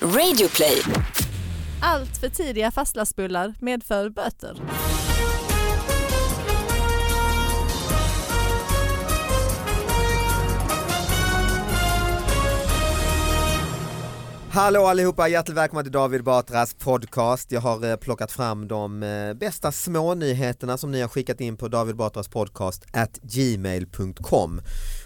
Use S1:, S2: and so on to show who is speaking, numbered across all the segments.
S1: Radioplay.
S2: Allt för tidiga fastlagsbullar medför böter.
S3: Hallå allihopa, hjärtligt välkomna till David Batras podcast. Jag har eh, plockat fram de eh, bästa smånyheterna som ni har skickat in på David Batras podcast at gmail.com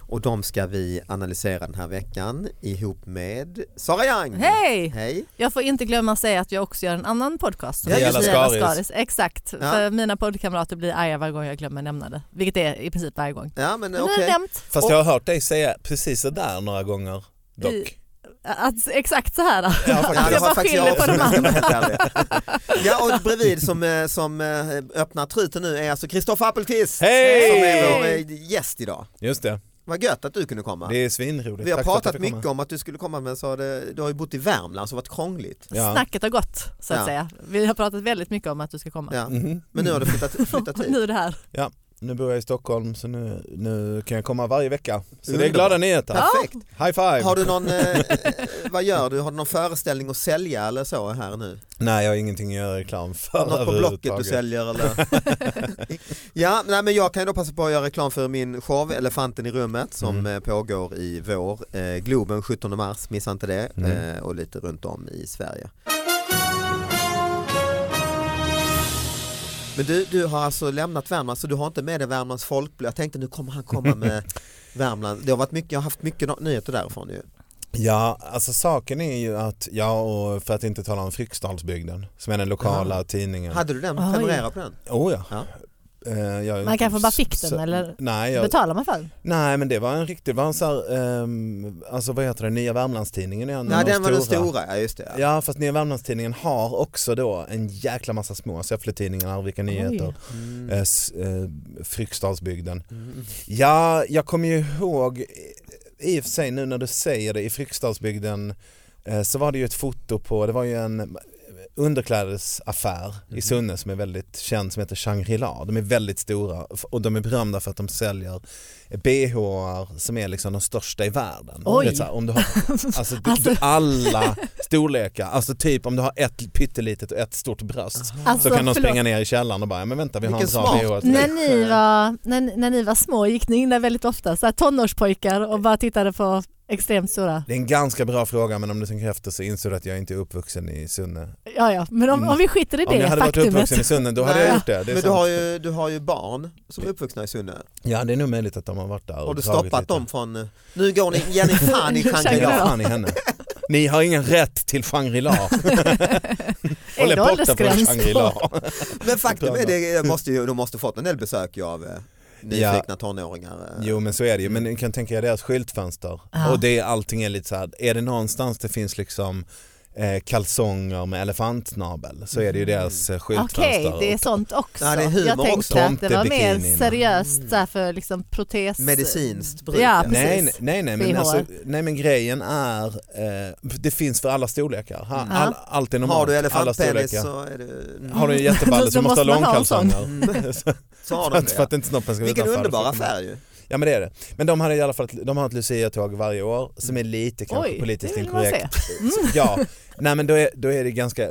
S3: och de ska vi analysera den här veckan ihop med Sara Young.
S2: Hej!
S3: Hej!
S2: Jag får inte glömma säga att jag också gör en annan podcast. som
S3: Ja,
S2: heter
S3: just det.
S2: Dela
S4: Skaris.
S2: Exakt, för mina poddkamrater blir arga varje gång jag glömmer nämna det. Vilket är i princip varje gång.
S3: Ja men
S2: Men Nu är
S3: okej.
S2: det nämnt.
S4: Fast
S2: Och-
S4: jag har hört dig säga precis det där några gånger dock.
S2: Att, exakt så här.
S4: Ja,
S3: Ja,
S2: Jag bara skyller på
S3: också,
S2: de
S3: men jag ska
S2: andra.
S3: vara helt ärlig. Ja och bredvid som, eh, som eh, öppnar truten nu är alltså Kristoffer Appelqvist
S4: Hej!
S3: som är vår eh, gäst idag.
S4: Just det,
S3: Vad gött att du kunde komma.
S4: det är svinroligt.
S3: Vi har
S4: Tack för att
S3: pratat
S4: jag fick
S3: mycket om att du skulle komma men så har det, du har ju bott i Värmland så det har varit krångligt.
S4: komma. Ja.
S2: Snacket har gått så att
S3: Ja.
S2: säga. Vi har pratat väldigt mycket om att du ska komma.
S3: Ja. typ.
S4: Mhm.
S3: Men nu har du flyttat, flyttat
S2: Och
S3: hit.
S2: nu är det här.
S4: ja, nu bor jag i Stockholm så nu, nu kan jag komma varje vecka. Så det är
S3: Underbart.
S4: glada nyheter.
S3: Perfekt.
S4: High five!
S3: Har du någon, eh, vad gör du? Har du någon föreställning att sälja eller så här nu?
S4: Nej jag har ingenting att göra reklam för
S3: Något på Blocket du
S4: överhuvudtaget.
S3: säljer eller? ja, nej, men jag kan ju då passa på att göra reklam för min show Elefanten i rummet som
S4: Mm.
S3: eh, pågår i vår. Eh, Globen 17 mars, missa inte det.
S4: Mm.
S3: Eh, och lite runt om i Sverige. Men du, du har alltså lämnat Värmland så du har inte med dig Värmlands folkblad. Jag tänkte nu kommer han komma med Värmland. Det har varit mycket, jag har haft mycket no- nyheter därifrån ju.
S4: Ja, alltså saken är ju att, ja och för att inte tala om Fryksdalsbygden som är den lokala tidningen.
S3: Hade du den?
S2: Oj.
S3: Prenumerera på den?
S4: Oh, ja.
S3: Ja.
S4: Eh, jag-
S2: Man kanske bara fick
S4: så-
S2: den, eller?
S4: Nej, jag,
S2: Betalar man för den?
S4: nej men det var en riktig, det var en så här, ehm, alltså vad heter det, Nya Värmlandstidningen är en
S3: Nej,
S4: av de
S3: den var den stora, ja just det. Ja.
S4: Ja fast Nya Värmlandstidningen har också då en jäkla massa små Säffletidningar, Arvika Nyheter,
S3: Mm.
S4: eh, s- eh, Fryksdalsbygden. Ja, jag kommer ju ihåg, i och för sig nu när du säger det, i Fryksdalsbygden eh, så var det ju ett foto på, det var ju en underklädesaffär
S2: Mhm.
S4: i Sunne som är väldigt känd som heter Shangri-La. De är väldigt stora och de är berömda för att de säljer bh som är liksom de största i världen.
S2: Oj.
S4: Det är så här, om du har, alltså, du- du, alla storlekar, alltså typ om du har ett pyttelitet och ett stort bröst
S2: Alltså,
S4: så kan de
S2: förlåt.
S4: springa ner i källaren och bara, "Ja, men vänta vi har en
S3: Vilken
S4: bra
S3: smart.
S4: bh till
S2: När
S4: dig.
S2: ni, var, när, när ni var små gick ni in där väldigt ofta, så här tonårspojkar och bara tittade på extremt stora.
S4: Det är en ganska bra fråga men om du tänker efter så inser du att jag inte är uppvuxen i Sunne.
S2: Ja, ja. Men om, om vi skiter i
S4: Mm. Om jag
S2: det
S4: hade varit
S2: faktumet.
S4: uppvuxen i Sunne då hade
S3: Nej,
S4: jag gjort det. det är
S3: Men du
S4: sant.
S3: har, ju, du har ju barn som är uppvuxna i Sunne.
S4: Ja det är nog möjligt att de har varit där och
S3: Har du
S4: dragit
S3: stoppat
S4: lite.
S3: dem från... eh, Nu går ni, ger ni fan i
S4: Nej,
S3: Shangri-La.
S4: jag fan i henne. Ni har ingen rätt till Shangri-La. Håll
S2: det
S4: er borta från
S2: åldersgräns
S4: Shangri-La.
S3: Men faktum är det, jag måste ju, de måste fått en del besök ju av eh, nyfikna tonåringar. eh.
S4: Jo men så är det ju, men ni kan tänka er deras skyltfönster.
S2: Ja.
S4: Och det, allting är lite så här, är det någonstans det finns liksom eh, kalsonger med elefantsnabel så är det ju deras eh,
S2: Mm. Okej,
S4: skyltfönster.
S2: det är
S4: Och-
S2: sånt också.
S3: Ja, det är humor
S2: jag tänkte
S3: också.
S2: att det var mer
S4: Tomtebikinin.
S2: seriöst så här
S3: Mm.
S2: för liksom protes...
S3: Medicinskt bruk.
S2: Ja, precis.
S4: Nej, nej, nej, men
S2: BH.
S4: alltså, nej men grejen är, eh, det finns för alla storlekar. Ha-
S2: Mm.
S4: All, allt är normalt.
S3: Har du
S4: alla
S3: elefantpenis
S4: storlekar.
S3: så är det...
S4: Har du en jätteballe
S2: Då
S4: så måste du ha
S2: Mm. måste man ha en sån.
S4: långkalsonger.
S3: Mm, så har
S4: För
S3: de
S4: att- För
S3: det.
S4: att inte snoppen ska
S3: ja.
S4: gå
S3: Vilken
S4: utanfär.
S3: underbar affär ju.
S4: Ja men det är det. Men de, hade i alla fall, ett- de har ett Lucia-tåg varje år som är lite kanske
S2: Oj,
S4: politiskt
S2: det vill man Mm.
S4: inkorrekt. Ja, nej men då är, då är det ganska eh,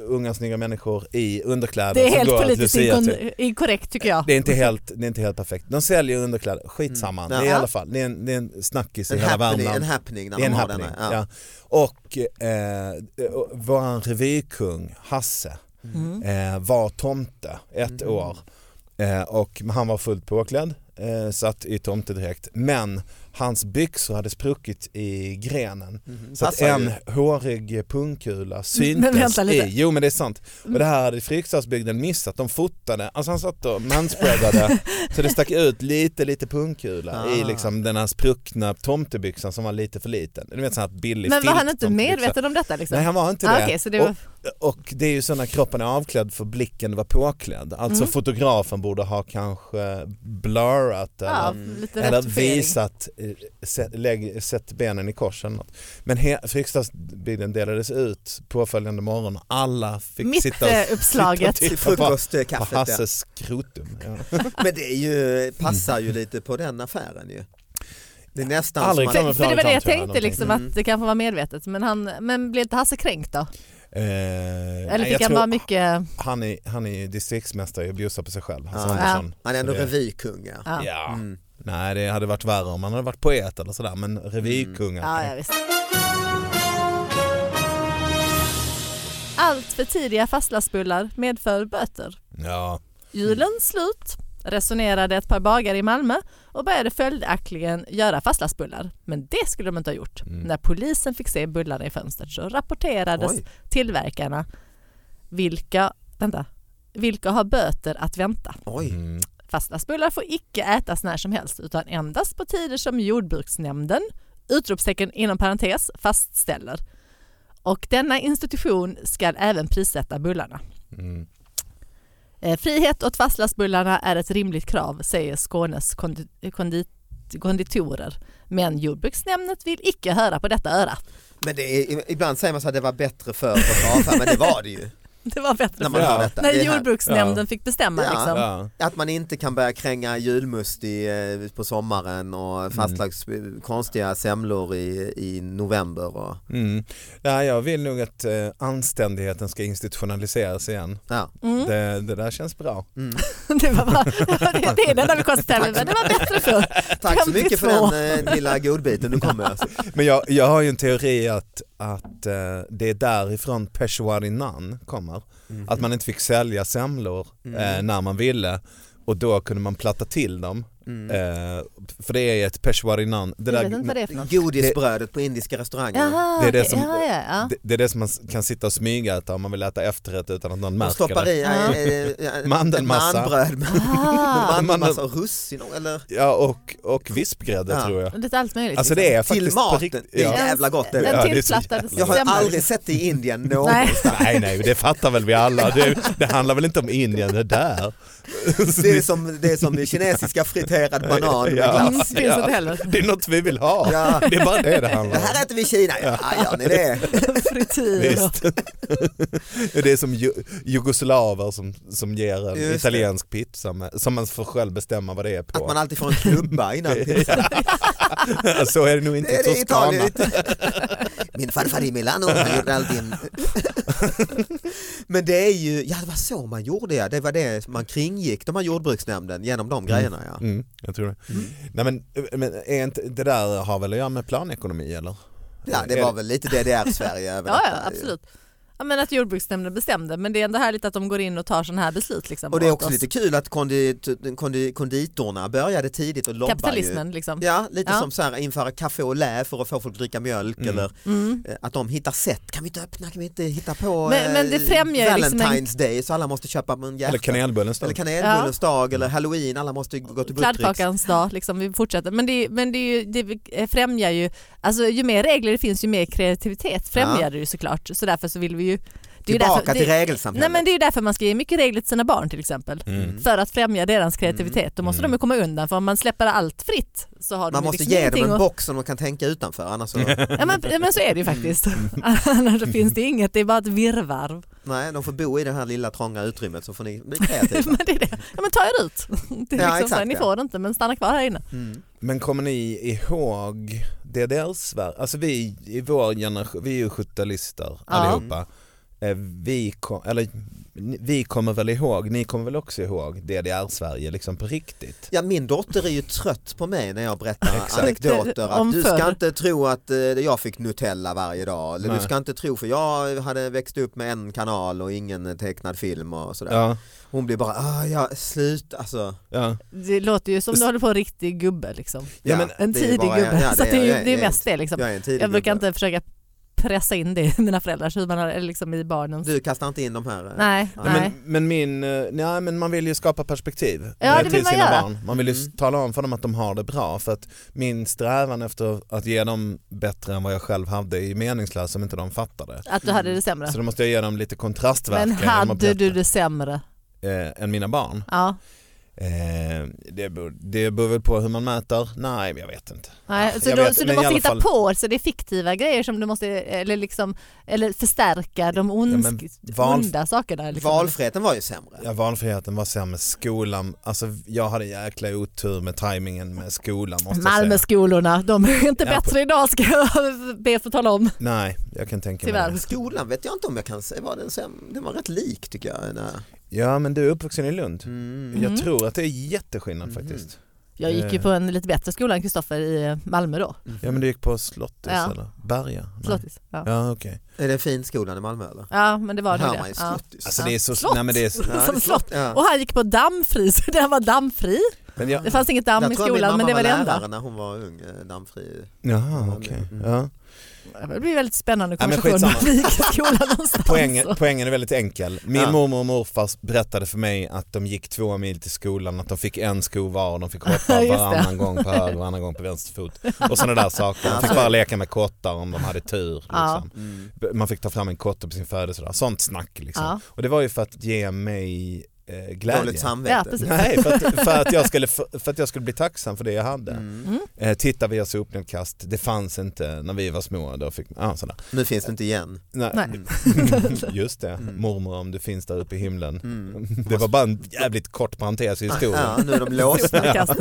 S4: unga snygga människor i underkläder
S2: Det är
S4: som
S2: helt
S4: går ett
S2: politiskt
S4: Lucia-tåg.
S2: inkon- inkorrekt tycker jag.
S4: Det är, inte helt, det är inte helt perfekt. De säljer underkläder, skitsamma.
S3: Mm.
S4: Det är i
S2: Ja.
S4: alla fall, det är en, det är en snackis i
S3: En
S4: hela
S3: happening,
S4: Värmland.
S3: en happening när
S4: Det är
S3: man
S4: en
S3: har
S4: happening.
S3: denna.
S4: Ja.
S3: Ja.
S4: Och eh, och vår revykung Hasse
S2: Mm.
S4: eh, var tomte ett
S3: Mm.
S4: år eh, och han var fullt påklädd, eh, satt i tomtedräkt men hans byxor hade spruckit i grenen.
S3: Mhm.
S4: Så att
S3: Passar ju.
S4: en hårig pungkula
S2: Men
S4: syntes
S2: vänta lite.
S4: i, jo men det är sant, och det här hade Fryksdalsbygden missat, de fotade, alltså han satt och manspreadade så det stack ut lite lite pungkula i
S3: Ah.
S4: liksom den här spruckna tomtebyxan som var lite för liten. Du vet sån här billig
S2: Men var han inte
S4: filttomtebyxa.
S2: medveten om detta liksom?
S4: Nej han var inte
S2: Ah,
S4: det.
S2: okej, så det var-
S4: och, och det är ju så när kroppen är avklädd för blicken var påklädd. Alltså
S2: Mm.
S4: fotografen borde ha kanske blurrat eller
S2: ja, lite
S4: eller
S2: retuschering.
S4: visat, eh, sett, lägg, sett benen i kors eller något. Men he- Fryksdalsbilden delades ut påföljande morgon och alla fick
S2: Mitt,
S4: sitta och,
S2: eh,
S4: sitta och
S2: uppslaget.
S3: Till
S4: titta på, på
S3: frukostkaffet ja.
S4: Hasses skrotum. Ja.
S3: Men det är ju, passar ju lite på den affären ju. Det är nästan
S4: Mm. Aldrig
S3: som
S4: kan
S3: att,
S2: För,
S4: man
S2: för det var det jag
S4: förklara
S2: tänkte, liksom,
S3: någonting.
S2: att det kanske var medvetet. Men, han, men blev inte Hasse kränkt då?
S4: Eh,
S2: Eller
S4: nej,
S2: fick
S4: jag
S2: han
S4: tror-
S2: bara mycket...
S4: han, är, han är ju distriktsmästare och bjussar på sig själv. Hasse
S3: Ja.
S4: Andersson.
S3: han är ändå
S4: Så det-
S3: revykung ja.
S2: Ja, ja,
S4: Ja.
S3: Mm.
S4: Nej det hade varit värre om han hade varit poet eller sådär men revykungar.
S2: Mm. ja visst. Allt för tidiga fastlastbullar medför böter.
S4: Ja.
S2: Julen slut resonerade ett par bagare i Malmö och började följaktligen göra fastlagsbullar. Men det skulle de inte ha gjort. När polisen fick se bullarna i fönstret så rapporterades
S3: Oj.
S2: tillverkarna vilka, vänta, vilka har böter att vänta.
S3: Oj.
S4: Mm.
S2: Fastlagsbullar får icke ätas när som helst utan endast på tider som jordbruksnämnden, utropstecken inom parentes, fastställer. Och denna institution ska även prissätta bullarna.
S4: Mm.
S2: Eh, Frihet åt fastlagsbullarna är ett rimligt krav, säger Skånes kondi- kondit- konditorer. Men jordbruksnämnden vill icke höra på detta öra.
S3: Men det är, ibland säger man så att det var bättre förr på avfärd, men det var det ju.
S2: Det var bättre
S3: När
S2: för
S3: man hör
S4: Ja.
S3: detta.
S2: när
S3: Det är här-
S2: jordbruksnämnden
S4: Ja.
S2: fick bestämma.
S3: Ja.
S2: Liksom.
S4: Ja.
S3: Att man inte kan börja kränga julmust i, eh, på sommaren
S4: Mm.
S3: och fastlags eh, konstiga semlor i, i november. Och,
S4: Mm. Nej, jag vill nog att eh, anständigheten ska institutionaliseras igen.
S3: ja.
S2: Mm.
S4: Det, det där känns bra.
S2: Det, var bara, det, det är det enda vi konstaterade, men det var bättre förr.
S3: Tack så mycket för
S2: 52.
S3: den eh, lilla godbiten du kom med. Alltså.
S4: Men jag, jag har ju en teori att, att eh, det är därifrån Peshawari Nan kommer. Att
S3: Mhm.
S4: man inte fick sälja semlor
S3: Mm.
S4: eh, när man ville och då kunde man platta till dem.
S3: Mm.
S4: Eh, för det är ett Peshawari Nan. Det,
S2: Jag
S4: där,
S2: vet inte vad det är för något.
S3: Godisbrödet på indiska restauranger.
S2: Jaha,
S4: Det är det
S2: okej.
S4: som-
S2: ja, ja, ja.
S4: det, det är det som man s- kan sitta och smyga äta om man vill äta efterrätt utan att någon
S3: Man
S4: märker
S3: stoppar
S4: det.
S3: i eh, eh, eh,
S4: Mandelmassa.
S3: manbröd med
S2: Ah,
S3: mandelmassa och russin eller
S4: Ja, och, och vispgrädde
S3: Ja.
S4: tror jag.
S2: lite allt möjligt.
S4: Alltså
S2: liksom.
S4: det är faktiskt
S3: till
S4: på
S3: maten.
S4: riktigt-
S3: Det är
S4: ja.
S3: jävla gott det.
S4: Ja, det
S2: Den
S4: är så
S2: tillplattade
S4: jävla-
S3: Jag har ju
S2: semlan.
S3: aldrig sett det i Indien någon.
S2: Nej,
S4: Nej, nej, det fattar väl vi alla. Det, det handlar väl inte om Indien det där.
S3: Det är som, det är som kinesiska friterad banan med
S4: Ja.
S3: glass.
S2: Mm, finns
S4: Ja.
S2: inte heller.
S4: Det är något vi vill ha.
S3: Ja.
S4: Det är bara det det handlar
S3: Det
S4: om.
S3: här äter vi i Kina, ja gör ni det?
S2: Frityr. och-
S4: Visst. Det är som ju- jugoslaver som, som ger en
S3: Just det.
S4: italiensk pizza med, som man får själv bestämma vad det är
S3: Att
S4: på.
S3: man alltid får en klubba innan.
S4: Så är det nog inte
S3: Det
S4: i
S3: är det i
S4: Toscana.
S3: Italien. Min farfar i Milano han gjorde alltid en... Men det är ju, ja det var så man gjorde ja, det var det man kringgick de här jordbruksnämnden genom de grejerna ja.
S4: Mm, jag tror det. Nej, men, men är inte, det där har väl att göra med planekonomi eller?
S3: Ja det var väl lite DDR-Sverige över
S2: Ja, ja,
S3: detta.
S2: absolut. Ja, men att jordbruksnämnden bestämde, men det är ändå härligt att de går in och tar sådana här beslut. Liksom,
S3: Och det är
S2: åt
S3: också
S2: oss.
S3: lite kul att kondi- kondi- konditorna började tidigt och lobba ju.
S2: Kapitalismen liksom.
S3: Ja, lite
S2: Ja.
S3: som så här, införa kaffe och lä för att få folk att dricka mjölk eller
S2: Mm.
S3: eh, att de hittar sätt, kan vi inte öppna, kan vi inte hitta på
S2: Men-
S3: eh,
S2: men det främjar ju liksom en-
S3: Valentine's Day så alla måste köpa en
S4: Eller
S3: hjärta
S4: kanelbullens då?
S3: eller kanelbullens dag eller halloween, alla måste ju gå till buttricks.
S2: Kladdkakans dag, liksom, vi fortsätter. Men, det, är- men det, är ju, det främjar ju, alltså ju mer regler det finns ju mer kreativitet främjar
S3: Ja.
S2: det ju såklart. Så därför så vill vi ju... Det är ju
S3: Tillbaka
S2: därför,
S3: till
S2: det, nej
S3: regelsamhället.
S2: men det är ju därför man ska ge mycket regler till sina barn till exempel.
S4: Mm.
S2: För att främja deras kreativitet. Då måste de ju komma undan för om man släpper allt fritt så har de
S3: Mm. Man
S2: ju
S3: måste
S2: liksom
S3: ge dem
S2: ingenting
S3: en
S2: att-
S3: box som de kan tänka utanför annars så,
S2: Ja men, ja, men så är det ju faktiskt. Annars finns det inget, det är bara ett virrvarr.
S3: nej, de får bo i det här lilla trånga utrymmet så får ni bli kreativa.
S2: men det är det. Ja, men ta er ut. Det är liksom
S3: Ja,
S2: så här,
S3: exakt,
S2: ni
S3: ja.
S2: får det inte men stanna kvar här inne.
S3: Mm.
S4: Men kommer ni ihåg DDR-Sverige? Alltså vi i vår generation, vi är ju 70-lister
S2: Ja.
S4: allihopa. Eh, Vi, kom, eller, ni- vi kommer väl ihåg, ni kommer väl också ihåg DDR-Sverige liksom på riktigt?
S3: Ja, min dotter är ju trött på mig när jag berättar
S4: Exakt.
S3: anekdoter.
S2: Om
S3: Att du ska
S2: förr.
S3: inte tro att eh, jag fick Nutella varje dag. Eller du
S4: Nej.
S3: ska inte tro för jag hade växt upp med en kanal och ingen tecknad film och sådär.
S4: Ja,
S3: Hon blir bara, ah, ja, slut alltså.
S4: ja.
S2: Det låter ju som du håller på en riktig gubbe liksom.
S4: Ja, men
S2: En
S3: det är ju
S2: tidig
S3: bara-
S2: gubbe.
S3: ja,
S2: så att det är,
S3: jag
S2: ju- det är
S3: jag
S2: mest det liksom.
S3: Jag är en tidig
S2: Jag brukar
S3: gubbe.
S2: inte försöka pressa in det i mina föräldrars huvud eller liksom i barnens.
S3: Du kastar inte in de här? eh,
S2: Nej,
S3: Ja.
S2: nej.
S4: Men, men min, eh, nej men man vill ju skapa perspektiv
S2: Ja,
S4: eh,
S2: det
S4: till
S2: vill man
S4: sina
S2: göra.
S4: barn. Man vill ju s- tala om för dem att de har det bra för att min strävan efter att ge dem bättre än vad jag själv hade är ju meningslös om inte de fattar det.
S2: Att du hade det sämre.
S4: Så då måste jag ge dem lite kontrastverkan
S2: Men
S4: genom att
S2: hade du
S4: berätta,
S2: det sämre?
S4: eh, än mina barn.
S2: Ja.
S4: Eh, det, beror, det beror väl på hur man mäter? Nej, men jag vet inte.
S2: Nej,
S4: Ja,
S2: så,
S4: Alltså, jag
S2: då,
S4: vet,
S2: så
S4: men
S2: du
S4: i
S2: måste
S4: alla
S2: hitta
S4: fall-
S2: på så det är fiktiva grejer som du måste eller liksom eller förstärka de
S4: men
S2: ondsk,
S4: val-
S2: onda sakerna. Liksom.
S3: Valfriheten var ju sämre.
S4: Ja, valfriheten var sämre. Skolan, alltså jag hade jäkla otur med tajmingen med skolan måste jag säga.
S2: Malmöskolorna, de är inte
S4: Ja, på-
S2: bättre idag ska jag be att få tala om.
S4: Nej, jag kan tänka
S2: Tyvärr.
S4: mig
S3: Skolan vet jag inte om jag kan säga, var den, säm- den var rätt lik tycker jag. Nej.
S2: Typ.
S4: det. Ja, men du är uppvuxen i Lund.
S3: Mm.
S2: Mhm.
S4: Jag tror att det är jätteskillnad faktiskt.
S2: Jag gick ju
S4: Eh.
S2: på en lite bättre skola än Kristoffer i Malmö då.
S4: Ja, men du gick på Slottis
S2: Ja.
S4: eller Berga? Nej.
S2: Slottis. Ja.
S4: Ja, okej.
S3: Är det en fin skolan i Malmö eller?
S2: ja men det var nog
S3: Hör
S2: det.
S3: man ju
S2: Ja.
S3: slottis.
S4: Alltså
S2: Ja.
S4: det är så...
S2: Slott.
S4: Nej, men det är så...
S3: Ja, det är
S2: Som slott.
S3: Ja.
S2: Och han gick på dammfri så den var dammfri.
S4: Men jag...
S2: Det fanns inget damm i
S3: jag tror att min mamma
S2: skolan men det var det enda.
S3: lärare när hon var ung, eh, dammfri.
S4: Jaha, okej.
S3: Mm.
S4: Ja.
S2: Det blir väldigt spännande
S4: Ja, men
S2: konversation om
S4: skitsamma.
S2: vi gick i skolan någonstans.
S4: Poängen, poängen är väldigt enkel. Min
S3: Ja.
S4: mormor och morfar berättade för mig att de gick två mil till skolan, att de fick en sko var och de fick hoppa
S2: Just det.
S4: varannan gång på höger och varannan gång på vänster fot. Och sådana där saker. De
S3: Alltså.
S4: fick bara leka med kottar om de hade tur. Liksom. Man fick ta fram en kotte på sin födelsedag. Sånt snack liksom.
S2: Ja.
S4: Och det var ju för att ge mig eh, glädje.
S3: Dåligt
S2: Ja,
S3: samvete.
S2: precis.
S4: Nej, för att, för, att jag skulle, för, för att jag skulle bli tacksam för det jag hade.
S3: Mm.
S4: Eh, titta via sopnedkast, det fanns inte när vi var små. Då fick, ah, sådär.
S3: Nu finns det inte igen.
S4: Nej.
S2: Nej.
S4: Just det,
S3: Mm.
S4: mormor om du finns där uppe i himlen.
S3: Mm.
S4: Det var bara en jävligt kort parentes i historien.
S3: Ja, nu är de låsta.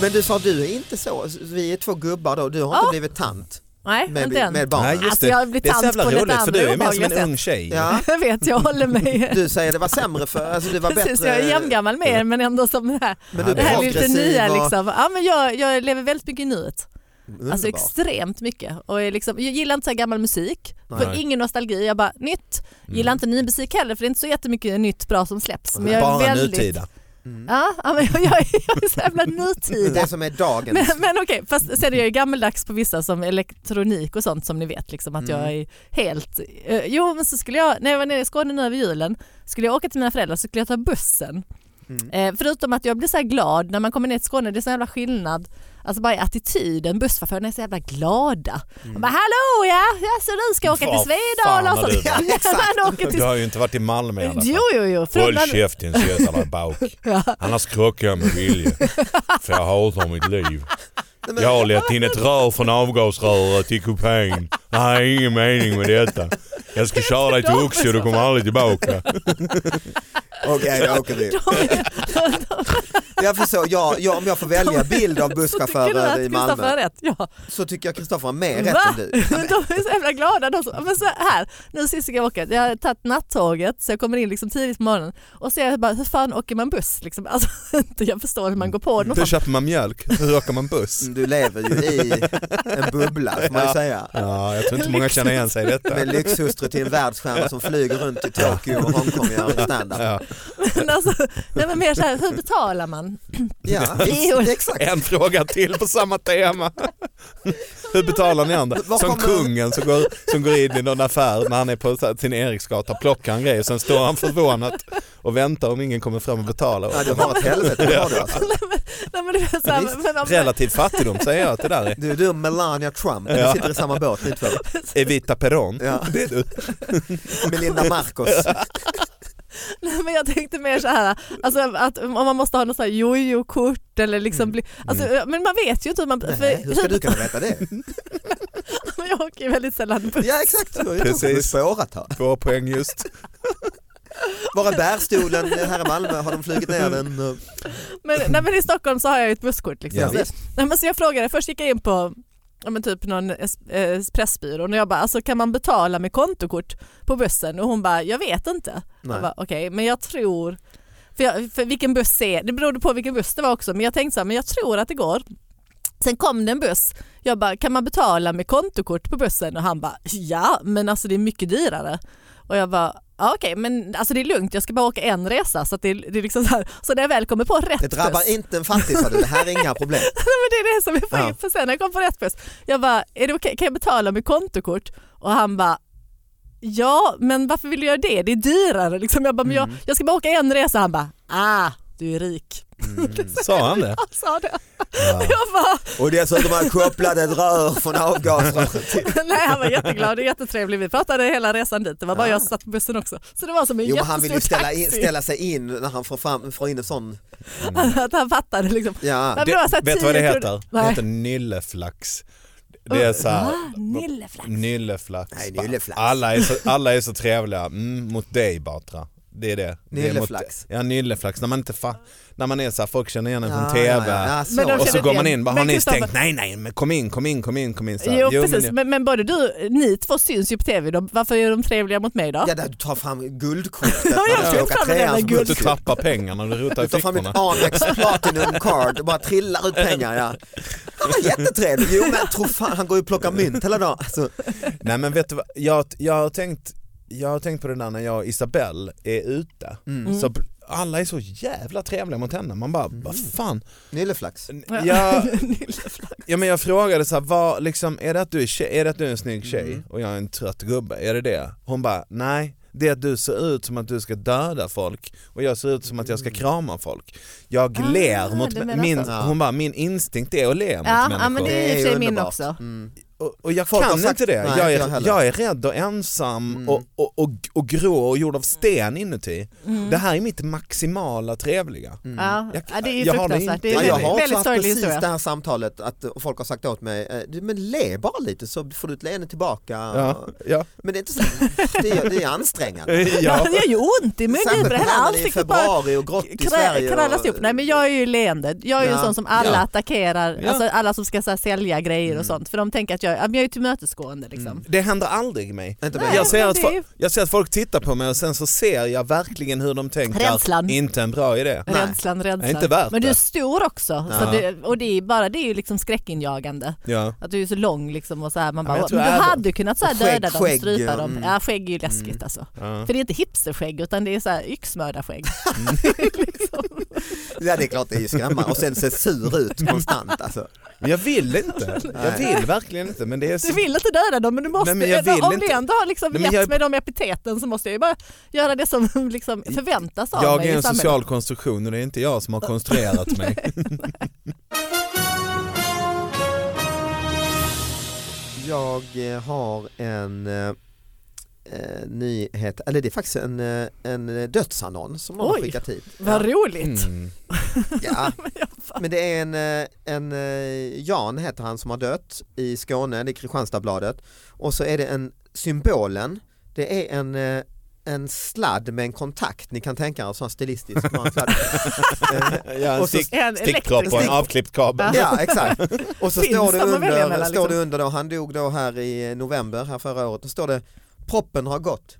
S3: Men du sa du är inte så, vi är två gubbar då, du har
S2: Ja.
S3: inte blivit tant
S2: Nej,
S3: med,
S2: inte än.
S3: med
S4: Nej,
S3: barnen.
S4: just
S2: Alltså,
S4: det.
S2: jag blir
S4: Det är så
S2: tant
S4: jävla
S2: på lite
S4: roligt för du är mer som en
S2: obehagliga
S4: ung tjej.
S3: Ja,
S2: Jag vet, jag håller mig.
S3: du säger det var sämre för, alltså du var
S2: Precis,
S3: bättre.
S2: jag är jämngammal med er men ändå som det här,
S3: Men du är
S2: det här lite
S3: progressiv
S2: nya.
S3: och-
S2: Liksom. Ja, men jag, jag lever väldigt mycket i nuet.
S3: Underbart.
S2: Alltså extremt mycket. Och jag, liksom, jag gillar inte så här gammal musik,
S3: Nej. Mm.
S2: för ingen nostalgi. Jag bara nytt. Gillar inte ny musik heller för det är inte så jättemycket nytt bra som släpps. Men jag är
S4: Bara
S2: väldigt,
S4: nutida.
S2: Ja, ja, men jag, jag, är- jag är så jävla nutida.
S3: Det som är dagens.
S2: Men, men okej, fast sen är jag ju gammeldags på vissa som elektronik och sånt som ni vet. Liksom, att jag
S4: Mm.
S2: är helt... eh, jo men så skulle jag, när jag var nere i Skåne nu över julen, skulle jag åka till mina föräldrar så skulle jag ta bussen.
S4: Mm.
S2: Eh, förutom att jag blir så här glad när man kommer ner till Skåne, det är så jävla skillnad. Alltså bara i attityden, busschaufförerna är så jävla glada. De bara hallå ja, ja så du ska åka
S4: Mm. Vad
S2: till Svedala och
S4: fan har
S2: sånt.
S4: du varit?
S2: Ja, man åker
S4: Du
S2: till...
S4: har ju inte varit i Malmö i alla fall.
S2: Jo jo jo.
S1: Håll
S2: Föräldrar-
S1: käften söta Bauk. Annars krockar jag med Vilje. För jag hatar mitt liv.
S3: Nej, men-
S1: Jag har lett in ett rör från avgasröret till kupén. Jag har ingen mening med detta. Jag ska köra dig till Oxie och du kommer aldrig tillbaka.
S3: Okej, då åker vi. Jag förstår, jag, jag, om jag får välja bild av
S2: Så tycker du att
S3: busschaufförer i
S2: Kristoffer har
S3: Malmö
S2: rätt? Ja.
S3: så tycker jag Kristoffer har mer rätt
S2: Va?
S3: än du. Ja, men-
S2: De är så jävla glada. De som, ja, men så här, nu sist jag åka, jag har tagit nattåget så jag kommer in liksom tidigt på morgonen och ser bara hur fan åker man buss? Liksom, alltså, inte jag förstår hur man går på det.
S4: Då
S2: någonstans.
S4: köper man mjölk, hur åker man buss?
S3: Du lever ju i en bubbla får man ju
S4: Ja.
S3: säga.
S4: Ja, jag tror inte många känner igen sig i detta.
S3: Med lyxhustru till en världsstjärna som flyger runt i Tokyo och Hongkong och gör standup.
S4: Ja.
S2: Men alltså, nej, men mer så här, hur betalar man?
S3: Ja,
S2: Jo.
S3: exakt.
S4: En fråga till på samma tema. Hur betalar ni andra?
S3: Var
S4: Som
S3: kommer-
S4: kungen som går, som går in i någon affär när han är på så här sin Eriksgata, plockar en grej och sen står han förvånat och väntar om ingen kommer fram och betalar.
S3: Ja, du har ett helvete det har du alltså.
S2: Nej, men det är så här,
S3: Visst.
S2: men om,
S4: Relativ fattigdom säger jag att det där är.
S3: Du, du och Melania Trump, ni
S4: Ja.
S3: sitter i samma båt ni två.
S4: Evita Peron.
S3: Ja.
S4: Det är du.
S3: Melinda Marcos.
S2: Nej, men jag tänkte mer så här, alltså, att om man måste ha något så här jojo-kort eller liksom bli, alltså, Men man vet ju inte hur man... För,
S3: Mm. Nej, hur ska
S2: hur-
S3: du kunna veta det?
S2: Jag åker ju väldigt sällan buss.
S3: Ja exakt, du har ju
S4: Precis.
S3: Precis. spårat här.
S4: Två poäng just.
S3: Bara bärstolen här i Malmö har de flugit ner den. eh,
S2: Men, nej, men i Stockholm så har jag ju ett busskort. Liksom.
S3: Ja,
S2: Så-
S3: visst.
S2: nej, men så jag frågade, först gick jag in på ja, men typ någon es- eh, pressbyrå och jag bara, alltså, kan man betala med kontokort på bussen? Och hon bara, jag vet inte.
S3: Nej.
S2: Jag bara, okej, men jag tror, för, jag, för vilken buss är det? berodde på vilken buss det var också, men jag tänkte så här, men jag tror att det går. Sen kom det en buss, jag bara, kan man betala med kontokort på bussen? Och han bara, ja, men alltså det är mycket dyrare. Och jag bara, ja, okej, men alltså det är lugnt, jag ska bara åka en resa. Så, att det, det är liksom så, här, så när jag väl kommer på rätt
S3: Det drabbar
S2: buss,
S3: inte en fattig sa du, det här är inga problem.
S2: Nej, men det är det som är poängen.
S3: Ja.
S2: För sen när jag kom på rätt buss, jag bara, är det okej, kan jag betala med kontokort? Och han bara, ja men
S4: Mm.
S2: varför vill du göra det? Det är dyrare. Liksom. Jag bara, men jag, jag ska bara åka en resa. Han bara, ah, du är rik.
S4: Sa han det?
S2: Han sa det.
S4: Ja.
S2: Jag bara,
S3: Och dessutom har jag kopplat ett rör från avgasröret till.
S2: nej han var jätteglad och jättetrevlig. Vi pratade hela resan dit. Det var bara
S3: Ja.
S2: jag som satt på bussen också. Så det var som en
S3: Jo men
S2: jättestor
S3: han vill ju ställa,
S2: taxi.
S3: in, ställa sig in när han får, fram, får in en sån.
S2: Att han fattade liksom.
S3: Ja.
S2: Ja, men det var så här
S4: vet du vad det
S2: 10
S4: heter? Det
S2: Nej.
S4: heter nylleflax. Det är så här,
S2: Va? Nilleflax.
S4: Nylleflax.
S3: Nej, nylleflax.
S4: Alla är så, alla är så trevliga mm, mot dig Batra. Det är det. det är
S3: Nylleflax.
S4: Mot, ja, nylleflax. När man inte fa- När man är så här, folk känner igen en
S3: Ja,
S4: från TV.
S3: ja, ja. Ja, så.
S2: Men de
S4: Och så
S2: känner
S4: går man
S2: igen.
S4: in, bara,
S2: Men
S4: har ni
S2: Kristoffer-
S4: stängt? Nej, nej, men kom in, kom in, kom in, kom in. Så här,
S2: Jo,
S4: men
S2: precis,
S4: jag-
S2: men, men, både du, ni två syns ju på tv. De, varför är de trevliga mot mig då?
S3: Ja, där du tar fram guldkortet när
S2: jag
S3: du ska
S2: tog
S3: åka
S2: fram det
S3: trean
S2: där
S3: som
S4: Du
S3: guldkort.
S2: guldkortet.
S4: tappar pengarna och du rotar i
S3: Du tar fram
S4: fickorna.
S3: ett Amex Platinum Card, det bara trillar ut pengar. Ja. Han var jättetrevlig. Jo men tro fan, han går ju och plockar mynt hela dagen. Alltså,
S4: Nej men vet du vad, jag, jag, har tänkt, jag har tänkt på det där när jag och Isabelle är ute.
S3: Mm.
S4: Så bl- alla är så jävla trevliga mot henne. Man bara, vad
S3: Mm.
S4: fan.
S3: Nylleflax.
S4: N- Jag, ja, men jag frågade så här, vad, liksom, är, det att du är, tjej, är det att du är en snygg tjej och jag är en trött gubbe? Är det det? Hon bara, nej. Det är att du ser ut som att du ska döda folk och jag ser ut som att jag ska krama folk. Jag
S2: Ah,
S4: ler mot
S2: du
S4: mä-
S2: menar
S4: min,
S2: så.
S4: Hon bara, min instinkt är att le mot
S2: Ja,
S4: människor.
S2: ja, men det är i och för sig min
S3: underbart.
S2: också.
S3: Mm.
S4: Och, och jag
S3: Folk har
S4: kan
S3: sagt-
S4: inte det.
S3: nej, inte jag
S4: jag, är,
S3: heller.
S4: jag är rädd och ensam
S3: Mm.
S4: och, och, och, och grå och gjord av sten inuti.
S2: Mm.
S4: Det här är mitt maximala trevliga.
S3: Mm.
S2: Ja.
S4: Jag-
S2: ja, det är ju
S4: jag har det
S2: fruktansvärt. Det är
S4: inte.
S3: Ja, jag
S2: en
S3: har
S2: väldigt, väldigt
S3: också haft
S2: sorglig
S3: precis
S2: historia.
S3: det här samtalet att eh, folk har sagt åt mig, eh, du, men le bara lite så får du ett leende tillbaka.
S4: Ja, ja.
S3: Men det är inte så, det är, det är ansträngande.
S2: Ja.
S4: ja.
S2: Det gör ju ont i munnen.
S3: Särskilt
S2: för Hela
S3: när man är i
S2: ansiktet typ bara
S3: februari och grått i
S2: krä-
S3: Sverige. och-
S2: krallas upp. Nej men jag är ju leende. Jag är ju
S3: Ja. Mm.
S2: en sån som alla
S4: Ja.
S2: attackerar.
S4: Ja.
S2: Alltså alla som ska så här, sälja grejer och sånt. För de tänker att jag, ja, men jag är tillmötesgående liksom.
S4: Det händer aldrig mig.
S3: Inte
S2: Nej,
S3: mig.
S4: Jag ser,
S2: men
S4: att
S2: det
S4: fo-
S2: är ju-
S4: jag ser att folk tittar på mig och sen så ser jag verkligen hur de tänker.
S2: Rädslan.
S4: Inte en bra idé.
S3: Mm. Nej.
S2: Rädslan, rädslan.
S4: Inte värt
S2: men du är
S4: det.
S2: stor också. Så
S4: Ja.
S2: att det, och det är, bara, det är ju liksom skräckinjagande.
S4: Ja.
S2: Att du är så lång liksom och så här, man
S4: Ja,
S2: bara,
S4: men jag
S2: men
S4: tror
S2: du
S4: jag är det.
S2: hade ju kunnat så här
S3: Och skägg,
S2: döda dem,
S3: skägg,
S2: strypa
S3: ja,
S2: dem.
S3: mm.
S2: Ja, skägg är ju läskigt alltså.
S4: Ja.
S2: För det är inte hipsterskägg utan det är så här yxmördarskägg. liksom.
S3: Ja det är klart det är ju skrämmande och sen ser sur ut konstant alltså.
S4: Men jag vill inte. Jag vill verkligen inte. Men det är så...
S2: Du vill inte döda dem men du måste,
S4: Nej, men jag vill
S2: om
S4: inte.
S2: det ändå har liksom
S4: Nej, men
S2: gett
S4: jag-
S2: mig de epiteten så måste jag ju bara göra det som liksom förväntas av
S4: Jag
S2: mig
S4: är
S2: i
S4: en
S2: samhället.
S4: social konstruktion och det är inte jag som har konstruerat mig.
S3: Jag eh, har en eh, eh, nyhet, eller det är faktiskt en, eh, en dödsannons som någon har
S2: Oj.
S3: skickat hit.
S2: Vad roligt.
S4: Mm.
S3: Ja. Men det är en, eh, en eh, Jan heter han som har dött i Skåne, det är Kristianstadsbladet. Och så är det en, symbolen, det är en eh, en sladd med en kontakt, ni kan tänka er en sån stilistisk man sladd. Eh,
S4: Ja, en
S3: Och så-
S4: stick,
S2: En
S4: stickpropp och en
S2: elektrisk-
S4: avklippt kabel.
S3: Ja exakt. Och så
S2: Finns
S3: står det,
S2: de att välja
S3: under,
S2: mellan,
S3: står det
S2: liksom?
S3: under då, han dog då här i november här förra året, då står det proppen har gått.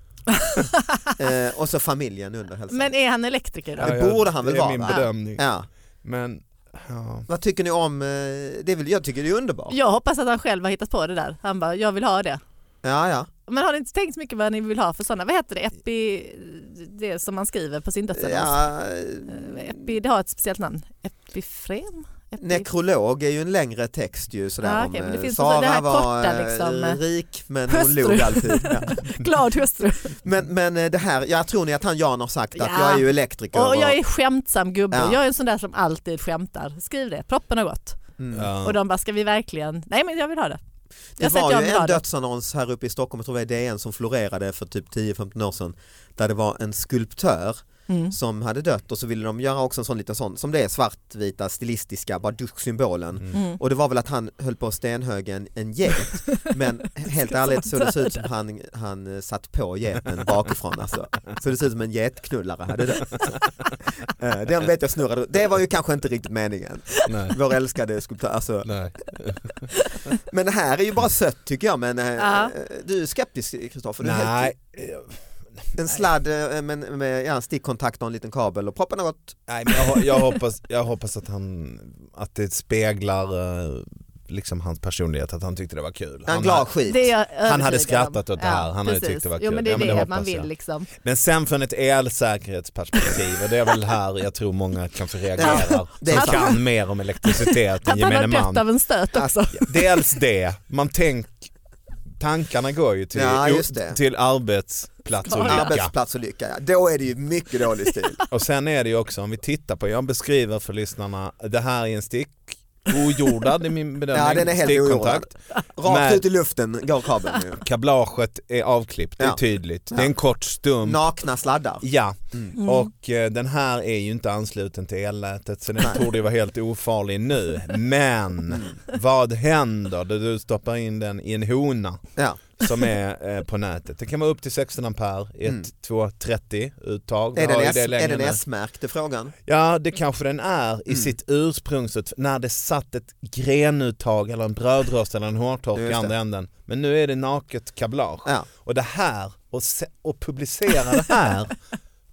S3: eh, och så familjen under hälsan.
S2: Men är han elektriker då?
S3: Ja, det borde han väl
S4: det är
S3: vara,
S4: min
S3: va?
S4: bedömning.
S3: ja.
S4: Men, ja.
S3: Vad tycker ni om, eh, det är väl, jag tycker det är underbart.
S2: Jag hoppas att han själv har hittat på det där. Han bara, jag vill ha det.
S3: Ja, ja.
S2: Men har ni inte tänkt så mycket vad ni vill ha för sådana? Vad heter det? Epi... Det som man skriver på sin dödsannons.
S3: ja
S2: Eh, Epi, det har ett speciellt namn. Epifrem? Epi...
S3: nekrolog är ju en längre text ju sådär
S2: Ja,
S3: om,
S2: Ah, okej, men det
S3: eh,
S2: finns
S3: Sara
S2: också det här
S3: var
S2: korta,
S3: eh,
S2: liksom,
S3: rik men hon
S2: hustru.
S3: log alltid. Ja.
S2: Glad hustru.
S3: Men, men eh, det här, jag tror ni att han Jan har sagt att
S2: Ja.
S3: jag är ju elektriker.
S2: Och jag är skämtsam gubbe.
S3: Ja.
S2: Jag är en sån där som alltid skämtar. Skriv det, proppen har gått.
S3: Mm.
S4: ja.
S2: Och de bara, ska vi verkligen? Nej men jag vill ha det.
S3: Det
S2: Jag har sett
S3: var
S2: jag
S3: ju
S2: vill ha
S3: en
S2: det.
S3: dödsannons här uppe i Stockholm, jag tror det var i DN som florerade för typ 10-15 år sedan, där det var en skulptör
S2: Mm.
S3: som hade dött och så ville de göra också en sån liten sån, som det är svartvita stilistiska, bara duschsymbolen.
S2: Mm.
S3: Och det var väl att han höll på att stenhög en, en get, men helt ärligt så det såg ut som han, han eh, satt på geten bakifrån alltså. Så det såg ut som en getknullare hade dött. Eh, Den vet jag snurrade, det var ju kanske inte riktigt meningen,
S4: Nej.
S3: vår älskade skulptör. Alltså,
S4: Nej.
S3: men det här är ju bara sött tycker jag men eh,
S2: Ja.
S3: du är skeptisk Kristoffer. Du är
S4: Nej.
S3: helt- En sladd eh, men med ja, en stickkontakt och en liten kabel och proppen har gått.
S4: Nej, men jag, ho- jag, hoppas, jag hoppas att han, att det speglar eh, liksom hans personlighet, att han tyckte det var kul.
S3: En
S4: Han
S3: glad
S4: hade-
S3: skit.
S2: Det är jag
S4: hade
S2: övertygad om.
S4: skrattat åt det här. Han hade
S2: precis.
S4: tyckt det var
S2: Jo
S4: kul.
S2: men det är
S4: Ja, men
S2: det,
S4: det
S2: man
S4: hoppas
S2: vill
S4: jag.
S2: liksom.
S4: Men sen från ett elsäkerhetsperspektiv, och det är väl här jag tror många kanske reagerar,
S3: det är
S4: som
S3: sant.
S4: kan mer om elektricitet än
S2: Att han
S4: gemene
S2: har dött
S4: man.
S2: av en stöt också.
S4: Dels det, man tänk, tankarna går ju till,
S3: Ja, just det.
S4: till arbetsplatsolycka.
S3: Arbetsplatsolycka, ja. Då är det ju mycket dålig stil.
S4: Och sen är det ju också om vi tittar på, jag beskriver för lyssnarna, det här är en stick, ojordad i min bedömning,
S3: Ja, den är helt
S4: stickkontakt.
S3: Rakt
S4: Men- Mm.
S3: ut i luften går kabeln ju.
S4: Kablaget är avklippt, det är
S3: Ja.
S4: tydligt.
S3: Ja.
S4: Det är en kort stump.
S3: Nakna sladdar.
S4: Ja,
S3: Mm.
S2: Mm.
S4: och eh, den här är ju inte ansluten till elnätet så den
S3: Nej. Mm.
S4: torde ju vara helt ofarlig nu. Men vad händer då du stoppar in den i en hona
S3: Ja.
S4: som är eh, på nätet? Det kan vara upp till 16 ampere i ett
S3: Mm.
S4: 230 uttag. Vi
S3: Är den,
S4: har ju
S3: S, är
S4: längre
S3: den
S4: nu.
S3: S-märkt är frågan?
S4: Ja, det kanske den är i
S3: Mm.
S4: sitt ursprungsut när det satt ett grenuttag eller en brödrost eller en hårtork i
S3: Just
S4: andra
S3: det.
S4: änden. Men nu är det naket kablage.
S3: Ja.
S4: Och det här, och, se, och publicera det här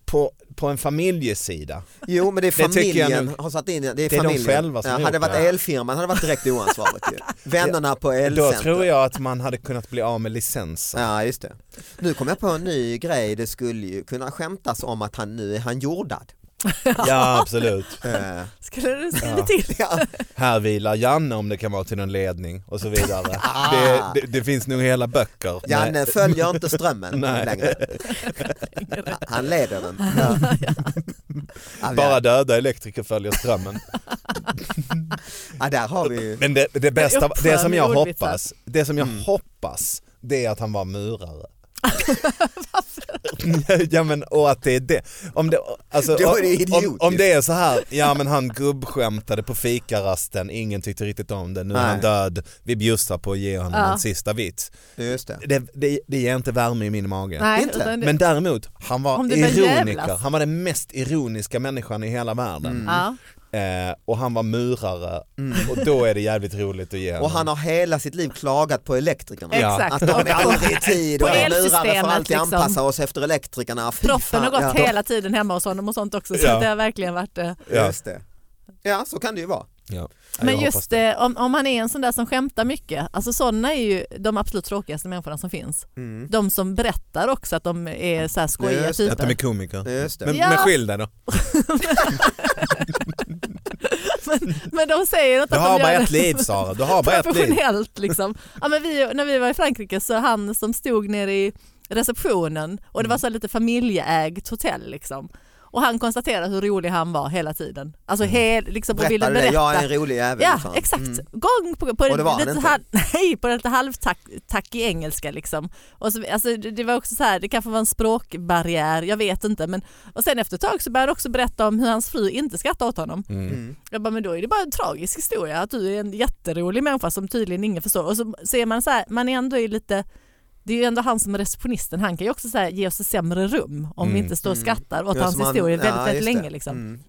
S4: på, på en familjesida.
S3: Jo men det är
S4: Det tycker jag
S3: familjen
S4: nog-
S3: har satt in det. är,
S4: de
S3: familjen.
S4: själva som
S3: ja,
S4: har
S3: Hade det
S4: gjort
S3: varit
S4: det.
S3: elfirman hade det varit direkt oansvarigt ju. Vännerna på
S4: Då
S3: elcenter.
S4: tror jag att man hade kunnat bli av med licensen.
S3: Ja just det. Nu kom jag på en ny grej, det skulle ju kunna skämtas om att han nu är han jordad.
S4: Ja, absolut.
S3: Eh,
S2: Skulle du skriva
S4: Ja.
S2: till?
S3: ja.
S4: Här vilar Janne om det kan vara till någon ledning och så vidare. Det, det, det finns nog hela böcker.
S3: Ah. Janne
S4: Nej.
S3: följer inte strömmen
S4: Nej.
S3: längre. Han leder den. Ja.
S4: Bara döda elektriker följer strömmen.
S3: Ja, där har vi ju.
S4: Men det, det bästa,
S2: uppför
S4: det som
S2: med
S4: jag
S2: ordvitsar.
S4: hoppas, det som
S3: Mm.
S4: jag hoppas, det är att han var murare. ja men och att det är det. Om det, alltså,
S3: Då är det
S4: om- om, om
S3: idiotiskt.
S4: det är så här, ja men han gubbskämtade på fikarasten, ingen tyckte riktigt om det, nu är
S3: Nej.
S4: han död, vi bjussar på att ge honom
S2: Ja.
S4: en sista vits.
S3: Just det.
S4: Det, det, det ger inte värme i min mage.
S2: Nej,
S3: Inte.
S2: utan det,
S4: Men däremot, han var
S2: Om det börjar
S4: ironiker,
S2: jävlas.
S4: han var den mest ironiska människan i hela världen.
S3: Mm.
S2: ja.
S4: Eh, och han var murare och då är det jävligt roligt att ge honom.
S3: Och han har hela sitt liv klagat på elektrikerna.
S2: Ja. Exakt.
S3: Att de är aldrig i tid och
S2: På
S3: är lurade
S2: elsystemet,
S3: får alltid
S2: liksom.
S3: anpassa oss efter elektrikerna. Fy
S2: Proppen har
S3: fan,
S2: gått
S3: ja.
S2: hela tiden hemma hos honom och sånt också så
S4: Ja.
S2: det har verkligen varit eh,
S4: Ja.
S3: Just det. Ja, så kan det ju vara.
S4: Ja.
S2: Men
S4: jag hoppas
S2: just eh, om, om han är en sån där som skämtar mycket, alltså sådana är ju de absolut tråkigaste människorna som finns.
S3: Mm.
S2: De som berättar också att de är så här skojiga
S3: Just det,
S4: Att de
S2: typer.
S4: är komiker.
S3: Just det.
S4: Men,
S2: Ja.
S4: men skilj dig då.
S2: Men de säger att
S4: Du
S2: de
S4: har bara
S2: gör
S4: ett
S2: det
S4: liv Sara, du har bara ett liv.
S2: professionellt liksom. Ja, men vi, när vi var i Frankrike så han som stod nere i receptionen och
S4: Mm.
S2: det var så här lite familjeägt hotell liksom. Och han konstaterade hur rolig han var hela tiden. Alltså
S4: Mm.
S2: hel, liksom, och ville
S3: Berättade det,
S2: berätta.
S3: jag är en rolig jävel.
S2: Ja,
S3: fan.
S2: exakt.
S3: Mm.
S2: Gång på gång. På
S3: Och det var han
S2: lite
S3: inte.
S2: halv, nej, på lite halvtackig engelska liksom. Och så, alltså, det, det var också så här, det kanske var en språkbarriär, jag vet inte. Men, och sen efter ett tag så började han också berätta om hur hans fru inte skrattade åt honom.
S3: Mm.
S2: Jag bara, men då är det bara en tragisk historia att du är en jätterolig människa som tydligen ingen förstår. Och så ser man så här, man är ändå i lite det är ju ändå han som är receptionisten, han kan ju också så här, ge oss ett sämre rum om vi
S4: Mm.
S2: inte står och
S3: Mm.
S2: skrattar åt
S3: Ja,
S2: hans
S3: som han-
S2: historia väldigt,
S3: ja,
S2: väldigt
S3: just det.
S2: länge. Liksom.
S3: Mm.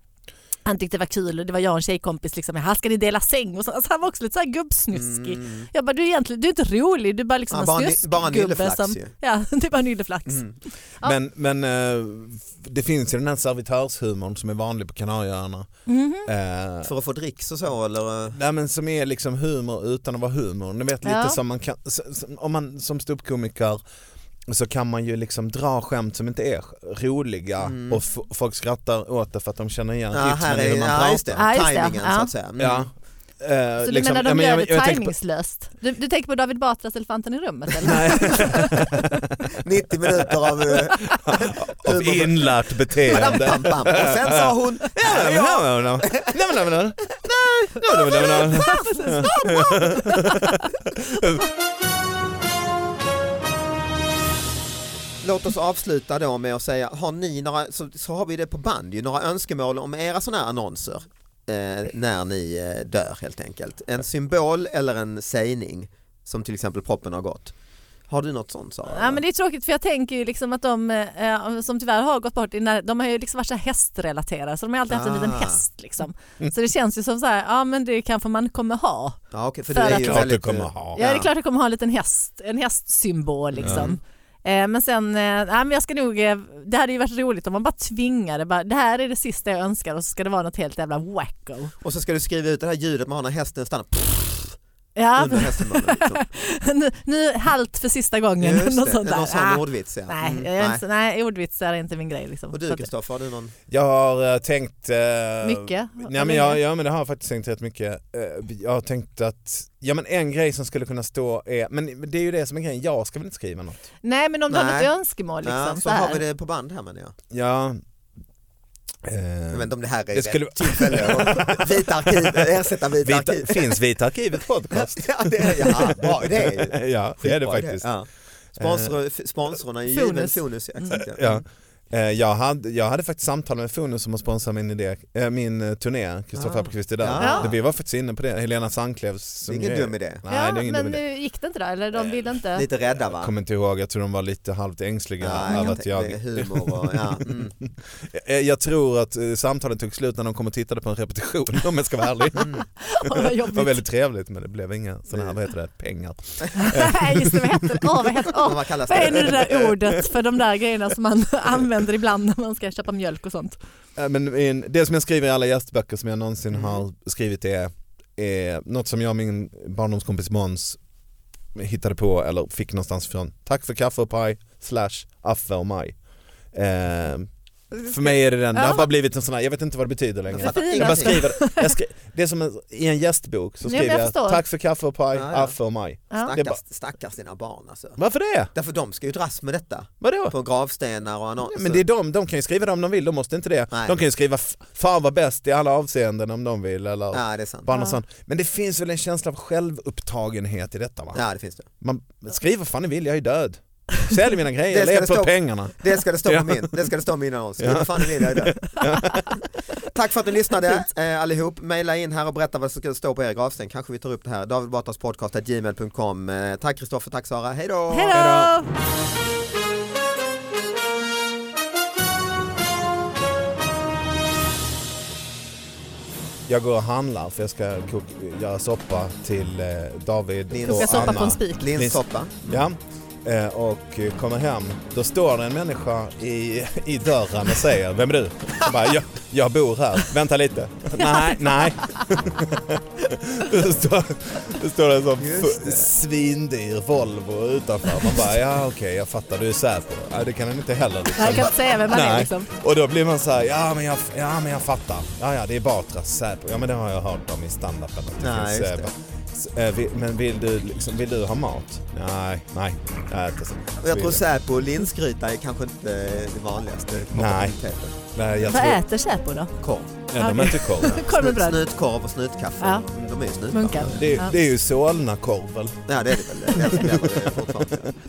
S2: Han tyckte det var kul och det var jag och en tjejkompis, liksom, här ska ni dela säng och så. Alltså, han var också lite så här gubbsnuskig.
S3: Mm.
S2: Jag bara, du är egentligen du är inte rolig, du är bara liksom
S3: Ja, bara en-
S2: en
S3: bara en
S2: snuskgubbe
S3: ylleflax
S2: som...
S3: ju.
S2: Ja, det är bara en ylleflax.
S3: Mm.
S2: Ja.
S4: Men, men eh, det finns ju den här servitörshumorn som är vanlig på Kanarieöarna.
S2: Mhm.
S4: Eh,
S3: För att få dricks och så eller? eh,
S4: Nej men som är liksom humor utan att vara humor. Ni vet lite
S2: Ja.
S4: som man kan, s- s- om man som ståuppkomiker så kan man ju liksom dra skämt som inte är roliga
S3: Mm.
S4: och f- folk skrattar åt det för att de känner igen
S3: Ja, här
S4: rytmen i hur
S3: är,
S4: man
S3: ja,
S4: pratar.
S3: just det.
S2: Ja, just det.
S3: Timingen
S2: Ja.
S3: så att säga. Mm.
S4: Ja. Eh,
S2: Så du
S4: liksom-
S2: menar de
S4: ja, men
S2: gör
S4: jag-
S2: det
S4: jag tänker på-
S2: tajmingslöst? Du, du tänker på David Batras Elefanten i rummet eller?
S4: Nej.
S3: 90 minuter av... eh,
S4: av inlärt beteende.
S3: Bam, bam, bam. Och sen sa hon, ja, ja. Låt oss avsluta då med att säga, har ni några, så, så har vi det på band ju, några önskemål om era sådana här annonser eh, när ni eh, dör helt enkelt. En symbol eller en sägning som till exempel proppen har gått. Har du något sånt Sara?
S2: Ja, men det är tråkigt för jag tänker ju liksom att de eh, som tyvärr har gått bort, i när- de har ju liksom varit så här hästrelaterade så de har alltid haft en liten
S3: Ah.
S2: häst. Liksom. Så det känns ju som så här, ja men det kanske man kommer ha.
S3: ja, okej, för
S2: För
S3: du är
S2: att-
S3: ju
S4: Klart du
S3: väldigt,
S4: kommer
S3: eh,
S4: ha.
S2: Ja, det är klart jag kommer ha en liten häst, en hästsymbol liksom. Eh, Men sen, eh, nej, men jag ska nog, eh, det hade ju varit roligt om man bara tvingade, bara, det här är det sista jag
S3: eh,
S2: önskar och så ska det vara något helt jävla wacko.
S3: Och så ska du skriva ut det här ljudet man har när hästen stannar.
S2: Ja,
S3: under hästmånaden. Liksom.
S2: nu, nu halt för sista gången.
S3: Just
S2: något
S3: det,
S2: sånt där.
S3: någon
S2: Ah,
S3: sån ordvits ja.
S2: nej,
S3: Mm,
S2: jag är inte, så- nej, ordvitsar är inte min grej. Liksom.
S3: Och du
S2: Så att-
S3: Kristoffer, har du någon?
S4: Jag har eh, tänkt... eh,
S2: Mycket?
S4: Nej, men jag, ja men det har jag faktiskt tänkt rätt mycket. Eh, Jag har tänkt att, ja men en grej som skulle kunna stå är, men det är ju det som är grejen, jag ska väl inte skriva något.
S2: Nej men om du har
S3: Nej.
S2: något önskemål liksom.
S3: ja, så
S2: så här.
S3: har vi det på band här menar jag.
S4: Ja. Eh,
S3: Jag vet inte om det här är
S4: det skulle-
S3: rätt tillfälle att vita arkiv, ersätta vita,
S4: Vita,
S3: arkiv.
S4: finns Vita Arkivet podcast?
S3: Ja, det är, ja, bra idé ju.
S4: ja, det är det
S3: Skitbra idé.
S4: faktiskt.
S3: Ja. Sponsor, f- sponsorerna är ju
S2: Fonus.
S3: given Fonus. Ja, exakt,
S4: Ja. Eh, Jag, hade, jag hade faktiskt samtal med Fonus som har sponsrat min, idé, eh, min eh, turné, Kristoffer
S3: Ah.
S4: Appelqvist är där.
S3: Ja.
S4: Det- Vi var faktiskt inne på det, Helena Sandklevs.
S3: Det
S4: som
S3: är ingen
S4: ju är-
S3: dum idé.
S4: Nej,
S2: ja,
S4: det är ingen
S2: men
S4: dum idé.
S2: eh, gick det inte då? Eller de ville inte?
S3: Lite rädda va?
S4: Jag kommer inte ihåg, jag tror de var lite halvt ängsliga
S3: Ja, jag
S4: över
S3: kan
S4: att
S3: tänka
S4: jag...
S3: mig humor och, ja. mm.
S4: Eh, Jag tror att eh, samtalet tog slut när de kom och tittade på en repetition om jag ska vara ärlig.
S3: Mm.
S2: Åh, vad
S4: Det var
S2: jobbigt.
S4: väldigt trevligt men det blev inga sådana här, vad heter det, pengar.
S2: Nej just det, vad heter det? Åh, vad, heter, åh,
S3: Men Vad kallas
S2: vad är nu det
S3: det?
S2: där ordet för de där grejerna som man använder ibland när man ska köpa mjölk och sånt?
S4: Eh, Men en- det som jag skriver i alla gästböcker som jag någonsin
S3: Mm.
S4: har skrivit är, är något som jag och min barndomskompis Måns hittade på eller fick någonstans från. Tack för kaffe och paj slash affe och maj. Eh, för mig är det den, det
S2: Ja.
S4: har bara blivit en sån här, jag vet inte vad det betyder längre.
S3: Jag fattar
S2: Det
S4: Jag bara
S3: ingenting.
S4: skriver, jag skri, det är som en, i en gästbok så
S2: Nej, men
S4: skriver
S2: jag
S4: jag,
S2: förstår.
S4: tack för kaffe och paj,
S3: Ja, ja.
S4: affe och maj.
S2: Ja.
S4: Det är bara-
S3: Stackars, stackars dina barn alltså.
S4: Varför det?
S3: Därför de ska ju dras med detta
S4: Vadå?
S3: på gravstenar och annonser.
S4: Men det är de, de kan ju skriva det om de vill, de måste inte det.
S3: Nej.
S4: De kan ju skriva f- fan vad bäst i alla avseenden om de vill eller
S3: Ja det är sant.
S4: bara något
S2: Ja.
S4: sånt. Men det finns väl en känsla av självupptagenhet i detta va?
S3: Ja det finns det.
S4: Man skriver vad fan ni vill, jag är död. Sälj mina
S3: Det
S4: grejer,
S3: ska
S4: lev
S3: det
S4: på
S3: stå-
S4: pengarna.
S3: Det ska det stå
S4: Ja.
S3: på min, det ska det stå på min annons. Ja. Fan, det vill jag det. Tack för att ni lyssnade eh, allihop. Maila in här och berätta vad som ska stå på er gravsten. Kanske vi tar upp det här. David Batras podcast gmail.com. Eh, tack Kristoffer, tack Sara. Hej då!
S2: Hej då!
S4: Jag går och handlar för jag ska kok- göra soppa till eh, David
S3: Koka
S4: och
S2: soppa på en
S4: Anna.
S2: spik.
S3: Linssoppa.
S4: Ja, eh, och eh, kommer hem. Då står det en människa i, i dörren och säger Vem är du? Jag, bara, jag, jag bor här. Vänta lite. Nej, nej. Då står, då står det en sån
S3: Just
S4: fu- svindyr Volvo utanför. Man bara, ja okej jag fattar, du är Säpo. Nej, det kan han inte heller. Liksom.
S2: Jag kan inte säga vem man är
S4: Nej.
S2: liksom.
S4: Och då blir man så här, ja men jag, ja, men jag fattar. Ja, ja, det är Batras Säpo. Ja, men det har jag hört om i standupen. att det
S3: Nej,
S4: finns,
S3: just
S4: eh,
S3: det.
S4: bara- s- eh, vi- Men vill du, liksom, vill du ha mat? Nej, nej. Jag äter så.
S3: Och jag tror Säpo och linsgryta är kanske inte eh, det vanligaste.
S4: Nej. Nej, jag
S2: Vad
S4: tror...
S2: äter Säpo då?
S3: Korv.
S4: Ja, de äter korv.
S2: Korv med bröd?
S3: Snutkorv och snutkaffe.
S2: Ja.
S3: De är ju snutar.
S2: Munkar?
S4: Det,
S2: Ja.
S4: är- det är ju Solnakorv väl?
S3: Ja det är det väl. Det är det väl fortfarande.